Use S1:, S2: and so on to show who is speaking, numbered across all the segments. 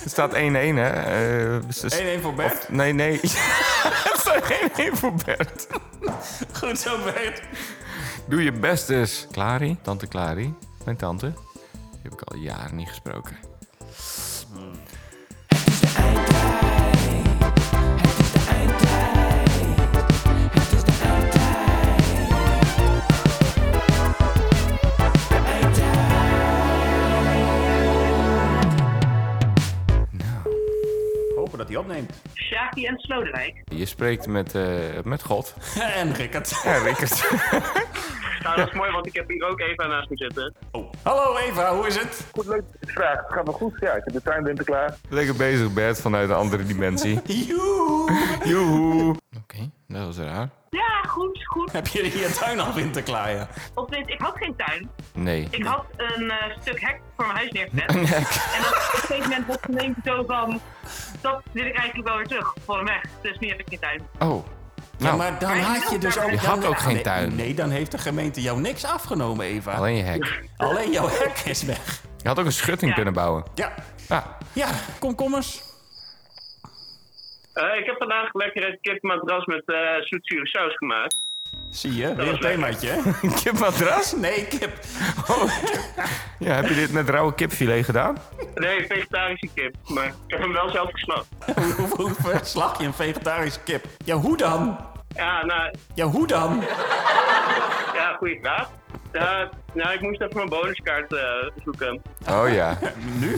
S1: Het staat 1-1, hè? Eh, dus- dus-
S2: 1-1 voor Bert.
S1: Nee, nee. Het staat 1-1 voor Bert.
S2: Goed zo, Bert.
S1: Doe je best dus. Clary, tante Clary, mijn tante. Die heb ik al jaren niet gesproken.
S2: Hopen dat hij opneemt.
S3: Sjaki en Slodewijk.
S1: Je spreekt met, eh, met God.
S2: en Rickert.
S1: Ja, Rickert.
S3: Nou, dat is mooi, want ik heb hier ook Eva naast me zitten.
S2: Oh. Hallo Eva, hoe is het?
S4: Goed, leuk dat je het vraagt. Het gaat wel goed. Ja, ik heb de tuinwinter klaar.
S1: Lekker bezig, Bert, vanuit een andere dimensie.
S2: Joe!
S1: Joehoe. Oké, dat was raar.
S3: Ja, goed, goed.
S2: Heb je je tuin al in te klaaien?
S3: Of weet, ik had geen tuin.
S1: Nee.
S3: Ik had een eh, stuk hek voor mijn huis neergezet. en dat, op een gegeven moment was de gemeente zo van... Dat wil ik eigenlijk wel weer terug voor hem weg. Dus nu heb ik geen tuin.
S1: Oh.
S2: Ja,
S1: Nou,
S2: maar dan had je dus ook...
S3: Je
S1: had
S2: dan-
S1: ook geen
S2: Nee,
S1: tuin.
S2: Nee, dan heeft de gemeente jou niks afgenomen, Eva. Alleen,
S1: alleen je hek.
S2: jouw hek is weg.
S1: Je had ook een schutting
S3: Ja.
S1: kunnen bouwen. Ah.
S2: Ja,
S1: Ja.
S2: ja komkommers.
S3: Eh, ik heb vandaag lekker een kipmadras met eh zoetzure saus gemaakt.
S2: Zie je, weer
S3: was
S2: een themaatje, hè?
S1: Kipmadras?
S2: Nee, kip.
S1: Ja, heb je dit met rauwe kipfilet gedaan?
S3: Nee, vegetarische kip. Maar ik heb hem wel zelf geslacht.
S2: hoe, hoe verslag je een vegetarische kip? Ja, hoe dan?
S3: Ja, nou,
S2: Ja, hoe dan?
S3: ja, goede vraag. Ja, nou, ik moest even mijn bonuskaart eh, zoeken.
S1: Oh ja.
S2: Nu?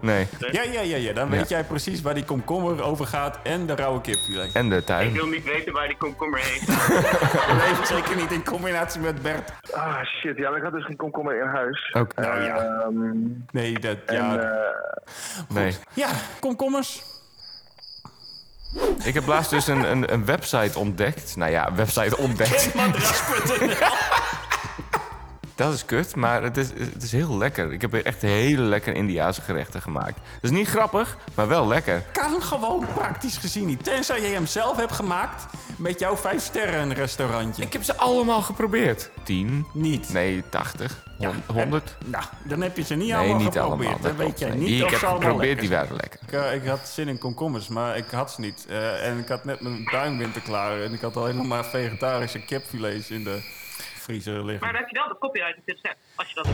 S1: Nee.
S2: Ja, ja, ja, ja. Dan weet
S1: Ja.
S2: jij precies waar die komkommer over gaat en de rauwe kipfilet.
S1: En de
S3: Ik
S1: tuin.
S3: wil niet weten waar die komkommer heen gaat.
S2: Nee, zeker niet in combinatie met Bert.
S4: Ah, shit. Ja, maar ik had dus geen komkommer in huis.
S1: Ook. eh,
S2: Nou ja,
S4: Ehm,
S2: nee, dat...
S4: en,
S2: Ja,
S4: eh,
S1: Nee.
S2: ja komkommers.
S1: Ik heb laatst dus een, een, een website ontdekt. Nou ja, website ontdekt.
S2: Madras.nl
S1: Dat is kut, maar het is, het is heel lekker. Ik heb er echt hele lekker Indiaanse gerechten gemaakt. Dat is niet grappig, maar wel lekker.
S2: Kan gewoon praktisch gezien niet. Tenzij jij hem zelf hebt gemaakt met jouw vijf sterren restaurantje.
S1: Ik heb ze allemaal geprobeerd. 10?
S2: Niet.
S1: Nee, 80? 100?
S2: Nou, dan heb je ze niet
S1: Nee,
S2: allemaal
S1: niet
S2: geprobeerd.
S1: allemaal.
S2: Dan
S1: Dat
S2: weet
S1: klopt.
S2: jij
S1: Nee,
S2: niet
S1: die
S2: of
S1: ik heb
S2: ze allemaal
S1: geprobeerd,
S2: lekker
S1: die waren lekker.
S2: Ik, eh, ik had zin in komkommers, maar ik had ze niet. Eh, en ik had net mijn duimwinter klaar. En ik had alleen nog maar vegetarische kipfilets in de vriezer liggen.
S3: Maar dan heb je wel de copyright op dit recept. Als je dat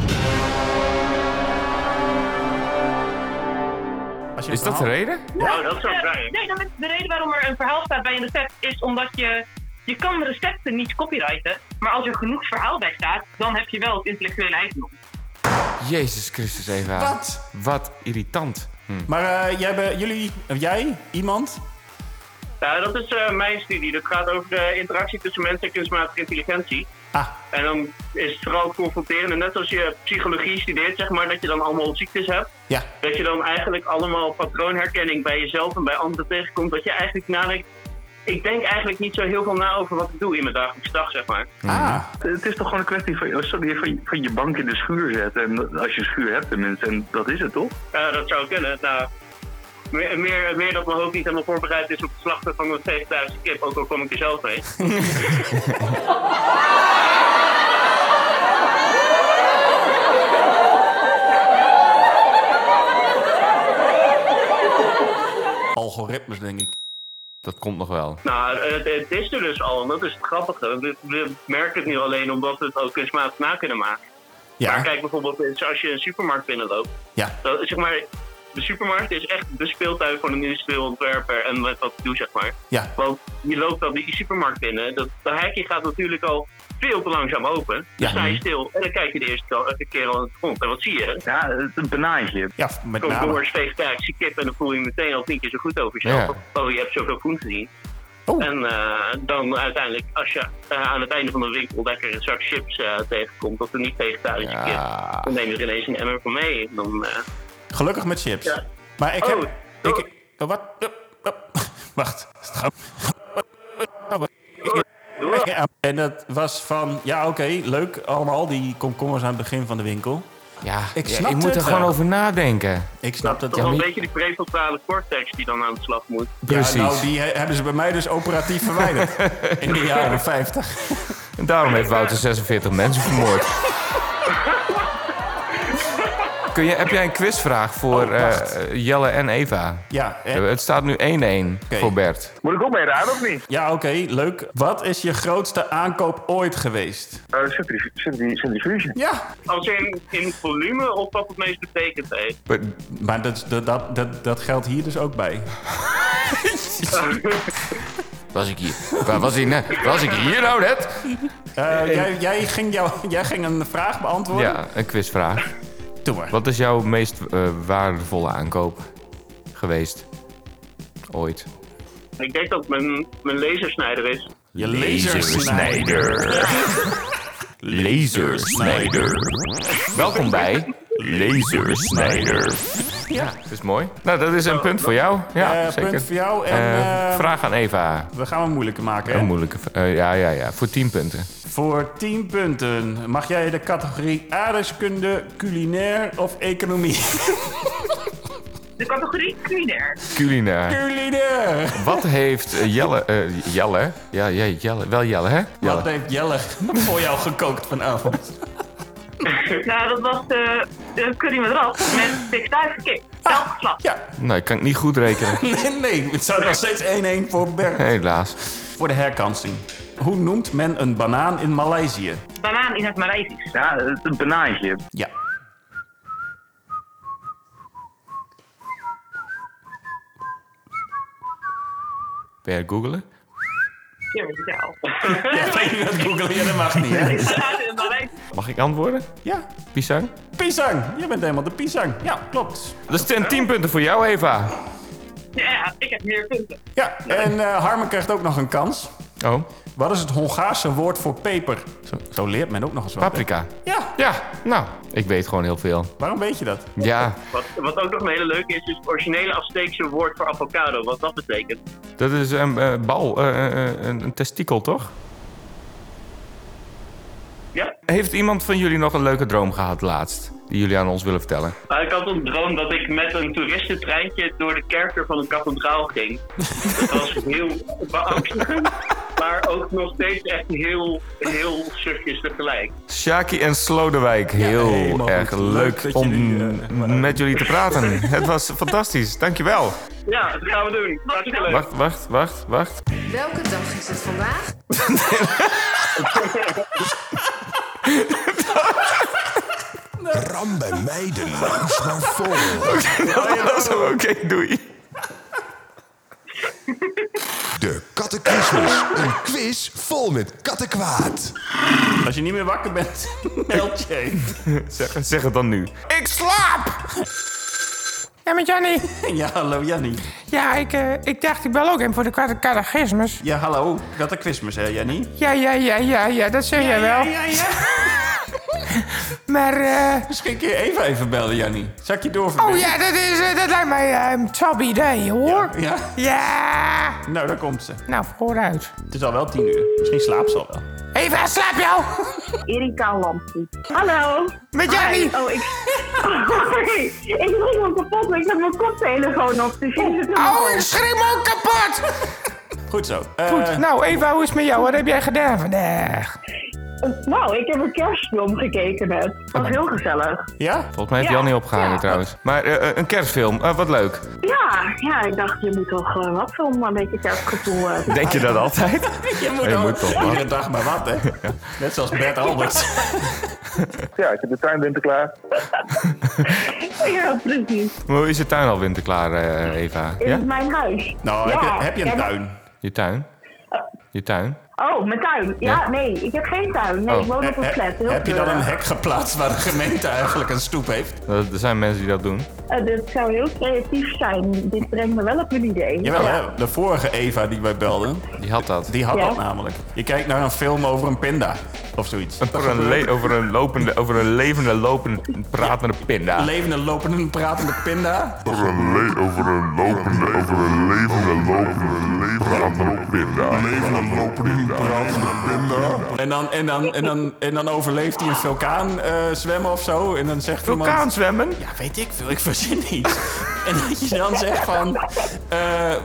S2: Als je
S1: Is
S2: het
S1: dat de
S2: verhaal-
S1: reden?
S3: Nou, dat
S5: zou
S3: zijn.
S5: zijn.
S3: Nee, dan is de reden waarom er een verhaal staat bij een recept is omdat je... Je kan recepten niet copyrighten, maar als er genoeg verhaal bij staat, dan heb je wel het intellectuele eigendom.
S1: Jezus Christus, Eva.
S2: Wat?
S1: Wat irritant. Hm.
S2: Maar eh, jij, be- jullie, of jij, iemand?
S3: Nou, dat is eh, mijn studie. Dat gaat over de interactie tussen mensen en kunstmatige intelligentie.
S2: Ah,
S3: En dan is het vooral confronterend. Net als je psychologie studeert, zeg maar, dat je dan allemaal ziektes hebt.
S2: ja.
S3: Dat je dan eigenlijk allemaal patroonherkenning bij jezelf en bij anderen tegenkomt. Dat je eigenlijk nadenkt... Ik denk eigenlijk niet zo heel veel na over wat ik doe in mijn dagelijkse dag, zeg maar.
S2: Ah,
S4: het is toch gewoon een kwestie van, oh, sorry, van, je- van je bank in de schuur zetten. En als je een schuur hebt tenminste. En dat is het, toch?
S3: Ja, dat zou kunnen. Nou, meer, meer, meer dat mijn hoofd niet helemaal voorbereid is op het slachten van een vegetarische kip, ook al kom ik er zelf mee.
S2: algoritmes denk ik.
S1: Dat komt nog wel.
S3: Nou, het, het is er dus al en dat is het grappige. We, we merken het nu alleen omdat we het ook kunstmatig na kunnen maken. Maar
S2: Ja,
S3: kijk bijvoorbeeld eens als je een supermarkt binnenloopt.
S2: ja.
S3: Dat, zeg maar, de supermarkt is echt de speeltuin van een industrieel ontwerper en met wat ik doe, zeg maar.
S2: Ja,
S3: Want je loopt dan die supermarkt binnen. Dat, dat hekje gaat natuurlijk al veel te langzaam open. Dan
S2: Ja.
S3: sta je stil en dan kijk je de eerste ka- keer al in het grond. En wat zie je?
S4: Ja, het- een banaantje.
S2: ja met
S3: Komt
S2: name.
S3: door vegetarische kip en dan voel je je meteen al tien keer zo goed over jezelf. Oh, je hebt zoveel groen gezien.
S2: Oh.
S3: En eh, dan uiteindelijk, als je eh, aan het einde van de winkel lekker een zak chips eh, tegenkomt, dat een niet-vegetarische kip,
S1: Ja.
S3: dan neem je er ineens een emmer van mee. En Dan, eh,
S2: Gelukkig met chips.
S3: Ja.
S2: Maar ik
S3: Oh,
S2: heb... Ik,
S3: oh.
S2: eh, wat? Eh, eh, Wacht. Is het grap? Ja, En dat was van... Ja, oké, leuk allemaal, die komkommers aan het begin van de winkel.
S1: Ja,
S2: Ik
S1: ja,
S2: snap
S1: je moet
S2: het
S1: er gewoon
S2: wel.
S1: over nadenken.
S2: Ik snap dat...
S3: dat is wel een beetje die prefrontale cortex die dan aan de slag moet.
S1: Precies.
S2: Ja, nou, die he- hebben ze bij mij dus operatief verwijderd. in de jaren 50.
S1: En daarom heeft Wouter 46 mensen vermoord. Kun je, heb jij een quizvraag voor
S2: Oh, wacht.
S1: eh, Jelle en Eva?
S2: Ja, eh,
S1: Het staat nu 1-1 voor Bert.
S4: Moet ik ook mee raden of niet?
S2: ja oké, leuk. Wat is je grootste aankoop ooit geweest?
S4: Eh, centrif- centrif- Centrifuge.
S2: Ja,
S3: Als in, in volume of wat het meest betekent heeft.
S2: maar dat, dat, dat, dat, dat geldt hier dus ook bij.
S1: Was ik hier? Waar was ik net? Was ik hier nou net?
S2: Eh, jij, jij, ging jou, jij ging een vraag beantwoorden?
S1: Ja, een quizvraag.
S2: Doe maar.
S1: Wat is jouw meest eh, waardevolle aankoop geweest? Ooit.
S3: Ik denk dat het mijn, mijn lasersnijder is.
S2: Je lasersnijder.
S1: Lasersnijder. Welkom bij Lasersnijder. Ja, dat is mooi. Nou, dat is een punt voor jou. Ja,
S2: Eh,
S1: zeker.
S2: punt voor jou. En
S1: Eh,
S2: eh,
S1: vraag aan Eva.
S2: we gaan hem moeilijker maken.
S1: Een
S2: hè?
S1: moeilijke. v- eh, ja, ja, ja. Voor 10 punten.
S2: Voor 10 punten mag jij de categorie aardrijkskunde, culinair of economie?
S5: De categorie culinair.
S1: Culinair.
S2: culinair!
S1: Wat heeft eh, Jelle. eh, Jelle? Ja, jij, Jelle. Wel Jelle, hè?
S2: Wat
S1: Jelle.
S2: heeft Jelle voor jou gekookt vanavond?
S5: Nou, dat was de, de curry met rat met fikstuif kip. Zelfgeslacht.
S2: Ja,
S1: Nou, ik kan ik niet goed rekenen.
S2: nee, nee. Het staat nog steeds 1-1 voor Bert.
S1: Helaas.
S2: Voor de herkansing. Hoe noemt men een banaan in Maleisië?
S5: Banaan in het Maleisisch.
S4: Ja, het een banaantje.
S2: Ja.
S1: Per googelen.
S5: Jezelf.
S2: Ja, nee, dat googelen je, dat mag niet, hè?
S5: Banaan in het Maleisisch.
S1: Mag ik antwoorden?
S2: Ja.
S1: Pisang?
S2: Pisang. Je bent helemaal de pisang. Ja, klopt.
S1: Dat zijn 10 punten voor jou, Eva.
S5: Ja, ik heb meer punten.
S2: Ja, en eh, Harmen krijgt ook nog een kans.
S1: Oh,
S2: Wat is het Hongaarse woord voor peper? Zo, zo leert men ook nog eens wat. hè?
S1: paprika.
S2: Ja,
S1: Ja, nou, ik weet gewoon heel veel.
S2: waarom weet je dat?
S1: Ja,
S3: Wat, wat ook nog een hele leuke is, is het originele Azteekse woord voor avocado. Wat dat betekent.
S1: dat is een eh, bal, eh, eh, eh, een, een testikel, toch?
S3: Ja?
S1: Heeft iemand van jullie nog een leuke droom gehad laatst? Die jullie aan ons willen vertellen?
S3: Maar ik had een droom dat ik met een toeristentreintje door de kerker van een kathedraal ging. Dat was heel beangstigend. Maar ook nog steeds echt heel, heel sufjes tegelijk.
S1: Shaki en Slodewijk, heel
S2: helemaal
S1: erg
S2: goed.
S1: leuk,
S2: Leuk dat
S1: om
S2: jullie, eh, maar-
S1: met jullie te praten. Het was fantastisch, dankjewel.
S3: Ja, dat gaan we doen. Hartstikke leuk.
S1: Wacht, wacht, wacht, wacht.
S6: Welke dag is het vandaag?
S7: Ram bij mij de langs naar voren.
S1: Dat was hem, oké, doei.
S7: De Catechismus. Een quiz vol met kattenkwaad.
S2: Als je niet meer wakker bent, meld je even.
S1: Zeg, zeg het dan nu. Ik slaap!
S8: Ja, met Jannie.
S2: Ja, hallo Jannie.
S8: Ja, ik, eh, ik dacht, ik bel ook in voor de kwade catechismus.
S2: Ja, hallo. Catechismus, hè Jannie?
S8: Ja, ja, ja, ja, ja, dat zeg jij wel.
S2: Ja, ja.
S8: Maar, eh...
S2: Misschien kun je even even bellen, Jannie. Zal ik je
S8: oh
S2: doorverbinden?
S8: ja, dat, is, eh, dat lijkt mij eh, een top idee, hoor.
S2: Ja?
S8: Ja!
S2: Nou, daar komt ze.
S8: Nou, vooruit.
S2: Het is al wel tien uur. Misschien slaapt ze al wel.
S8: Eva, slaap jou!
S5: Erika Lampie. Hallo.
S8: Met Jannie!
S5: Hi. Oh, ik... Sorry. Ik drink me kapot. Ik heb mijn koptelefoon op. Dus jullie zitten
S8: Oh, ik schreeuw me ook kapot!
S2: Goed zo. Eh,
S8: Goed, nou Eva, hoe is het met jou? Wat heb jij gedaan vandaag?
S5: Nou, ik heb een kerstfilm gekeken net. Dat was heel gezellig.
S2: Ja?
S1: Volgens mij heeft
S5: Ja,
S1: Jan niet opgehangen
S5: ja.
S1: trouwens. Maar eh, een kerstfilm, Eh, wat leuk.
S5: Ja, ja, ik dacht, je moet toch eh, wat filmen, een beetje kerstgevoel eh. hebben.
S1: Denk je dat altijd?
S2: Je moet,
S1: Je
S2: ook-
S1: moet toch wat.
S2: Iedere dag maar wat, hè? Net zoals Bert Albert.
S4: Ja, ik heb de tuinwinter klaar.
S5: Ja, precies.
S1: Maar Hoe is je tuin al winterklaar, eh, Eva?
S5: In
S1: Ja?
S5: mijn huis.
S2: Nou, heb,
S5: Ja,
S2: je, heb je
S5: ja,
S2: een
S5: maar-
S2: tuin?
S1: Je tuin? Je tuin?
S5: Oh, mijn tuin. Ja,
S1: Ja.
S5: nee, ik heb geen tuin. Nee,
S1: Oh.
S5: ik woon op een
S2: He-
S5: flat. Heel
S2: heb je dan een
S5: treurig.
S2: hek geplaatst waar de gemeente eigenlijk een stoep heeft?
S1: Dat- Er zijn mensen die dat doen.
S5: Eh, dit zou heel creatief zijn. Dit brengt me wel op mijn idee.
S2: Jawel, hè? de vorige Eva die wij belden,
S1: Die had dat.
S2: die had
S5: Ja.
S2: dat namelijk. Je kijkt naar een film over een pinda of zoiets.
S1: Over een, le- over een, lopende, over een levende, lopende, pratende pinda.
S2: levende, lopende, en pratende pinda.
S9: over een, le- over een lopende, over een levende, lopende, levende pinda. Levende, lopende, pratende pinda.
S2: En dan, en dan, en dan, en dan overleeft hij een vulkaan eh, zwemmen of zo. En dan zegt iemand...
S1: Vulkaanswemmen?
S2: Ja, weet ik veel, ik verzin iets. en dat je dan zegt van... eh,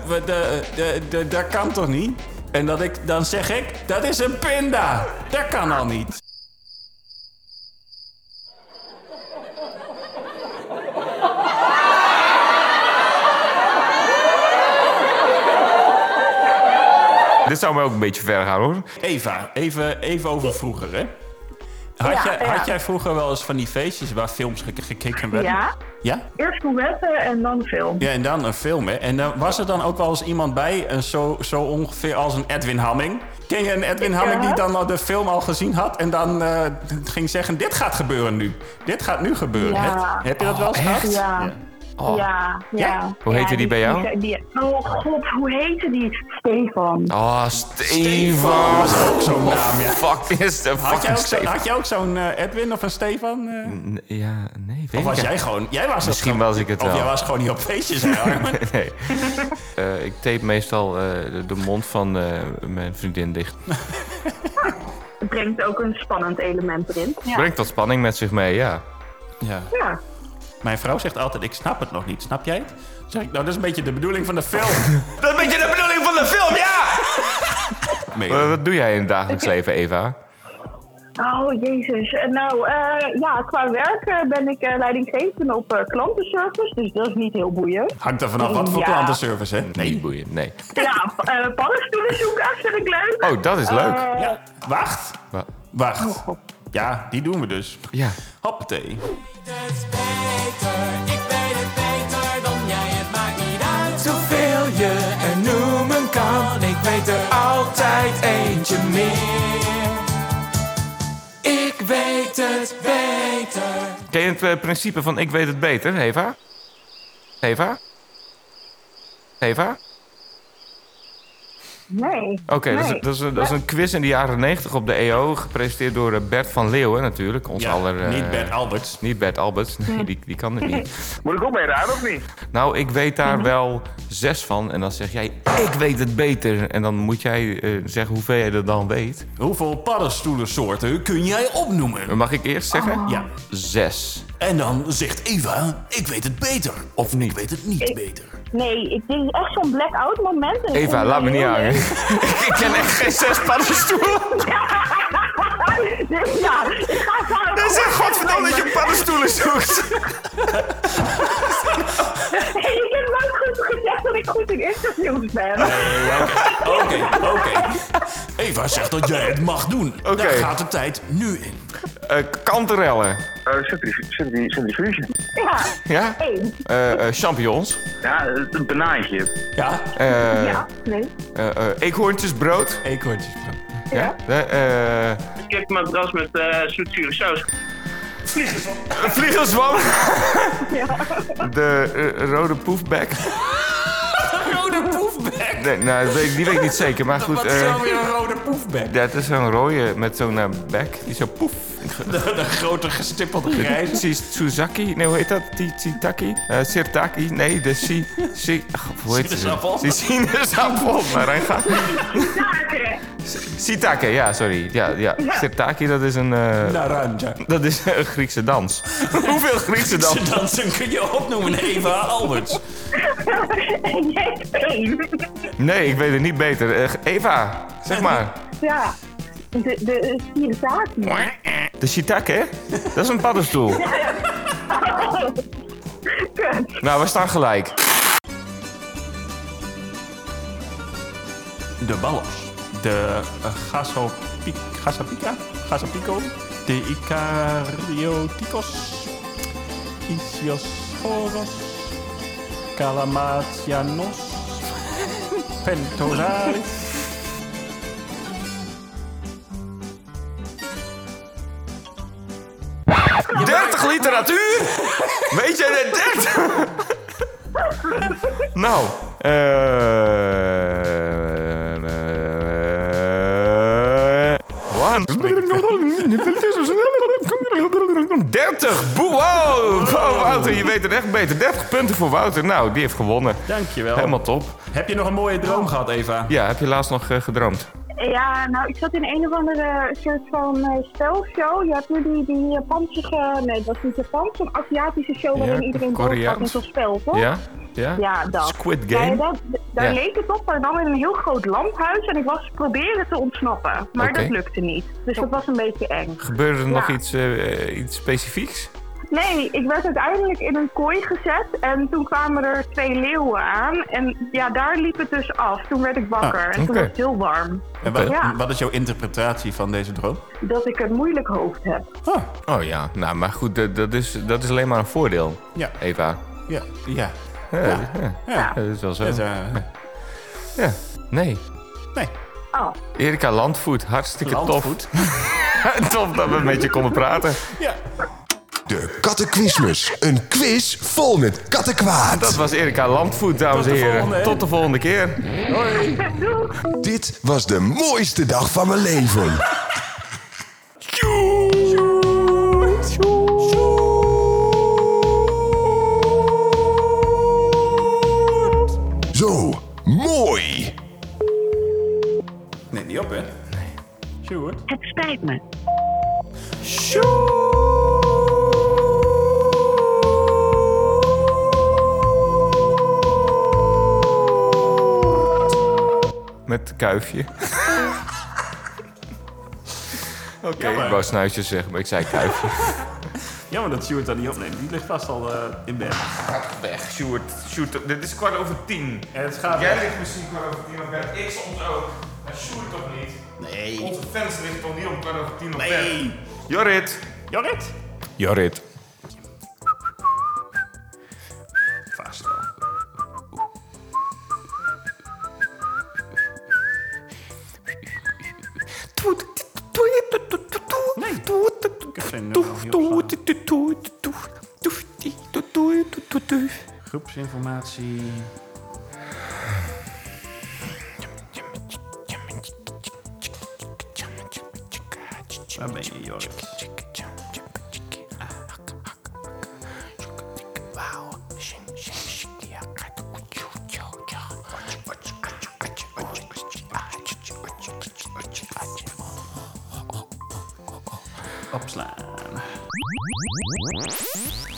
S2: we- de, de, de, dat kan toch niet? En dat ik, dan zeg ik, dat is een pinda. Dat kan al niet.
S1: dit zou mij ook een beetje ver gaan hoor.
S2: Eva, even, even over vroeger, hè? Had,
S5: Ja,
S2: jij,
S5: ja.
S2: had jij vroeger wel eens van die feestjes waar films gek- gekeken werden?
S5: Ja.
S2: ja?
S5: Eerst couvetten en dan film.
S2: Ja, en dan een film, hè? En dan was er dan ook wel eens iemand bij, een zo, zo ongeveer als een Edwin Hamming. Ken je een Edwin Hamming die dan al de film al gezien had en dan eh, ging zeggen: Dit gaat gebeuren nu. Dit gaat nu gebeuren.
S5: Ja.
S2: Heb, heb je dat wel eens gehad?
S5: Ja.
S1: Oh.
S5: Ja, ja.
S1: Hoe heette
S5: Ja,
S1: die bij jou?
S5: die- die- oh god, hoe heette die? Stefan.
S1: Oh,
S2: Stefan
S1: Stefan.
S2: was ook zo'n naam, ja.
S1: Fuck is de
S2: Had jij
S1: fucking
S2: ook, zo,
S1: Stefan.
S2: had jij ook zo'n eh, Edwin of een Stefan? eh?
S1: N- Ja, nee, weet
S2: of was
S1: ik
S2: jij gewoon... Jij was het
S1: Misschien
S2: gewoon-
S1: was ik het
S2: Of
S1: wel.
S2: jij was gewoon niet op feestjes, hè, Armin?
S1: Nee. Eh, ik tape meestal eh, de- de mond van eh, mijn vriendin dicht.
S5: Het brengt ook een spannend element erin. Ja.
S1: Brengt wat spanning met zich mee, ja.
S2: ja.
S5: ja.
S2: Mijn vrouw zegt altijd, ik snap het nog niet. Snap jij het? Dan Zeg ik, nou, dat is een beetje de bedoeling van de film.
S1: Dat is een beetje de bedoeling van de film, ja!
S2: Nee.
S1: wat doe jij in het dagelijks leven, Eva?
S5: Oh, jezus. Eh, Nou, eh, ja, qua werk eh, ben ik eh, leidinggevende op eh, klantenservice, dus dat is niet heel boeiend.
S2: Hangt er vanaf wat voor
S5: Ja.
S2: klantenservice, hè?
S1: Niet boeiend, nee.
S5: Ja, p- eh, paddenstoelen zoeken vind ik leuk.
S1: Oh, dat is leuk.
S5: Eh,
S2: Ja. Wacht.
S1: Wa-
S2: Wacht. Ja, die doen we dus.
S1: Ja.
S2: Hoppatee.
S10: Zoveel je er noemen kan, ik weet er altijd eentje meer. Ik weet het beter.
S1: Ken je het eh, principe van ik weet het beter, Eva? Eva? Eva?
S5: Nee.
S1: Oké, dat is-
S5: Nee.
S1: dat, is een- dat is een quiz in de jaren 90 op de EO, gepresenteerd door eh, Bert van Leeuwen natuurlijk. Ons
S2: Ja,
S1: aller, eh,
S2: niet Bert Alberts.
S1: Niet Bert Alberts, nee, die, die kan het niet.
S4: Moet ik ook mee raden of niet? Mhm.
S1: Nou, ik weet daar wel zes van. En dan zeg jij, ik weet het beter. En dan moet jij eh, zeggen hoeveel jij er dan weet.
S2: Hoeveel paddenstoelensoorten kun jij opnoemen?
S1: Mag ik eerst zeggen?
S4: Oh.
S2: Ja.
S1: Zes.
S2: En dan zegt Eva, ik weet het beter. Of niet. Ik weet het niet beter.
S5: Nee, ik, dit is echt zo'n blackout moment. En ik
S1: Eva,
S5: vond
S1: laat me
S5: het
S1: niet
S4: Oh,
S5: heel
S1: hangen. ik ken echt geen zes paddenstoelen.
S5: leuk. Dus ja, ik ga gewoon...
S1: En zeg godverdomme dat je paddenstoelen zoekt.
S5: Ik heb nooit goed gezegd dat ik goed in interviews ben.
S2: Oké, oké. Eva zegt dat jij het mag doen. Daar gaat de tijd nu in.
S1: Eh, kanterellen.
S4: Eh, zet die- Zet die zet die vuurtje.
S5: Ja,
S1: Ja?
S5: één.
S1: Eh, eh, champignons.
S4: Ja, eh, een banaantje.
S2: Ja,
S1: Eh,
S5: Ja, nee.
S1: eh, eh, eekhoorntjesbrood.
S2: eekhoortjes.
S1: Ja. Eh, eh,
S3: Kipmadras met eh zoetzure saus.
S1: Een vliegenzwam. De eh, rode poefbek.
S2: Rode poefbek.
S1: Nee, nou, dat weet ik- die weet ik niet zeker, maar goed.
S2: Wat
S1: eh,
S2: is nou weer een rode poefbek?
S1: dat is zo'n rode met zo'n eh, bek. Die zo poef.
S2: De, de grote gestippelde
S1: Precies,
S2: grijze.
S1: Tsuzaki. Nee, hoe heet dat? Tsitaki? Eh Sirtaki? Nee, de Si... si Ach, hoe heet ze?
S2: Sinaasappel.
S1: Die sinaasappel. Maar hij gaat...
S5: Zaken.
S1: Sitake, ja, sorry. Ja, ja. Sirtaki, dat is een... eh,
S2: Naranja.
S1: dat is een Griekse dans. Hoeveel Griekse dans?
S2: Ze dansen kun je opnoemen, Eva Alberts.
S5: En jij één.
S1: Nee, ik weet het niet beter. Eh, Eva, zeg maar.
S5: Ja. De, de Sierzaken.
S1: De shiitake, dat is een paddenstoel. Nou, we staan gelijk.
S2: De ballos. De uh, gasopic, gasapica? Gasapico. De icarioticos. Isiosporos. Calamatianos. Pentoralis.
S1: Ja. 30 literatuur? Weet jij dat 30? nou, eh. eh, One. eh, 30! Boe, wow! Wow, Wouter, je weet het echt beter. 30 punten voor Wouter. Nou, die heeft gewonnen.
S2: Dankjewel.
S1: Helemaal top.
S2: Heb je nog een mooie droom gehad, Eva?
S1: Ja, heb je laatst nog eh, gedroomd?
S5: Ja, nou, ik zat in een of andere soort van eh, spelshow. Je hebt nu die, die Japanse, nee, dat was niet Japans, zo'n Aziatische show waarin iedereen doodgaat met
S1: Koreaans.
S5: zo'n spel, toch?
S1: Ja? Ja?
S5: Ja, dat.
S1: Squid
S5: Ja,
S1: Game?
S5: dat, daar
S1: Ja.
S5: leek het op, maar dan in een heel groot lamphuis. En ik was proberen te ontsnappen, maar
S1: Oké.
S5: dat lukte niet. Dus dat was een beetje eng.
S1: Gebeurde er nog
S5: Ja.
S1: iets, eh, iets specifieks?
S5: Nee, ik werd uiteindelijk in een kooi gezet en toen kwamen er twee leeuwen aan. En ja, daar liep het dus af. Toen werd ik wakker
S2: Ah,
S5: en toen
S2: oké.
S5: was het heel warm.
S2: En wat,
S5: Ja,
S2: wat is jouw interpretatie van deze droom?
S5: dat ik een moeilijk hoofd heb.
S2: Ah,
S1: Oh ja, nou maar goed, dat, dat, is, dat is alleen maar een voordeel,
S2: Ja.
S1: Eva.
S2: Ja. Ja.
S1: Ja, ja.
S2: Ja.
S1: dat is wel zo.
S2: Het, eh,
S1: Ja. Nee.
S2: nee.
S5: Oh,
S1: Erika Landvoet, hartstikke
S2: Landvoet.
S1: tof. tof dat we met je konden praten.
S2: Ja.
S7: De Kattenquizmus. Een quiz vol met kattenkwaad.
S1: Dat was Erika Landvoet, dames
S2: Tot de
S1: en heren.
S2: volgende.
S1: Tot de volgende keer.
S5: doeg!
S7: Dit was de mooiste dag van mijn leven. Zo, mooi.
S2: Nee, niet op, hè? Nee. Sjoerd.
S5: Het spijt me.
S1: Met kuifje. Oké, ik wou snuitjes zeggen, maar ik zei kuifje.
S2: Jammer dat Sjoerd dat niet opneemt. Die ligt vast al eh, in bed.
S1: Gaat weg, Sjoerd. Sjoerd, dit is kwart over tien.
S2: En het gaat
S1: Jij
S2: weg.
S1: ligt misschien kwart over tien op bed, ik soms ook. Maar Sjoerd toch niet?
S2: Nee.
S1: Onze fans liggen toch niet om kwart over tien op bed?
S2: Nee.
S1: Jorrit.
S2: Jorrit.
S1: Jorrit.
S2: Vast wel. Nee. Ik heb geen nummer, heel saai. Groepsinformatie. Waar ben je, Joris? Opslaan.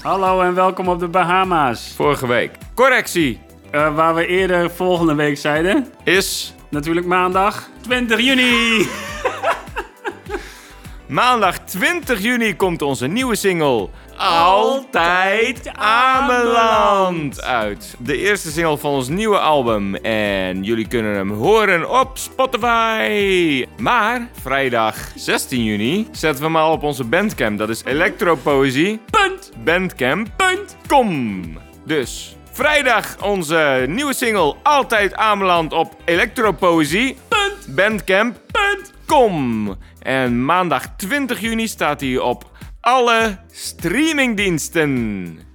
S2: Hallo en welkom op de Bahama's.
S11: Vorige week. Correctie.
S12: Eh, waar we eerder volgende week zeiden.
S11: Is
S12: Natuurlijk maandag 20 juni.
S11: maandag 20 juni komt onze nieuwe single Altijd Ameland uit. De eerste single van ons nieuwe album. En jullie kunnen hem horen op Spotify. Maar vrijdag 16 juni zetten we hem al op onze Bandcamp. Dat is elektropoëzie. Bandcamp. Com. Dus vrijdag onze nieuwe single Altijd Ameland op Elektropoëzie. Bandcamp. Com. En maandag 20 juni staat hij op alle streamingdiensten.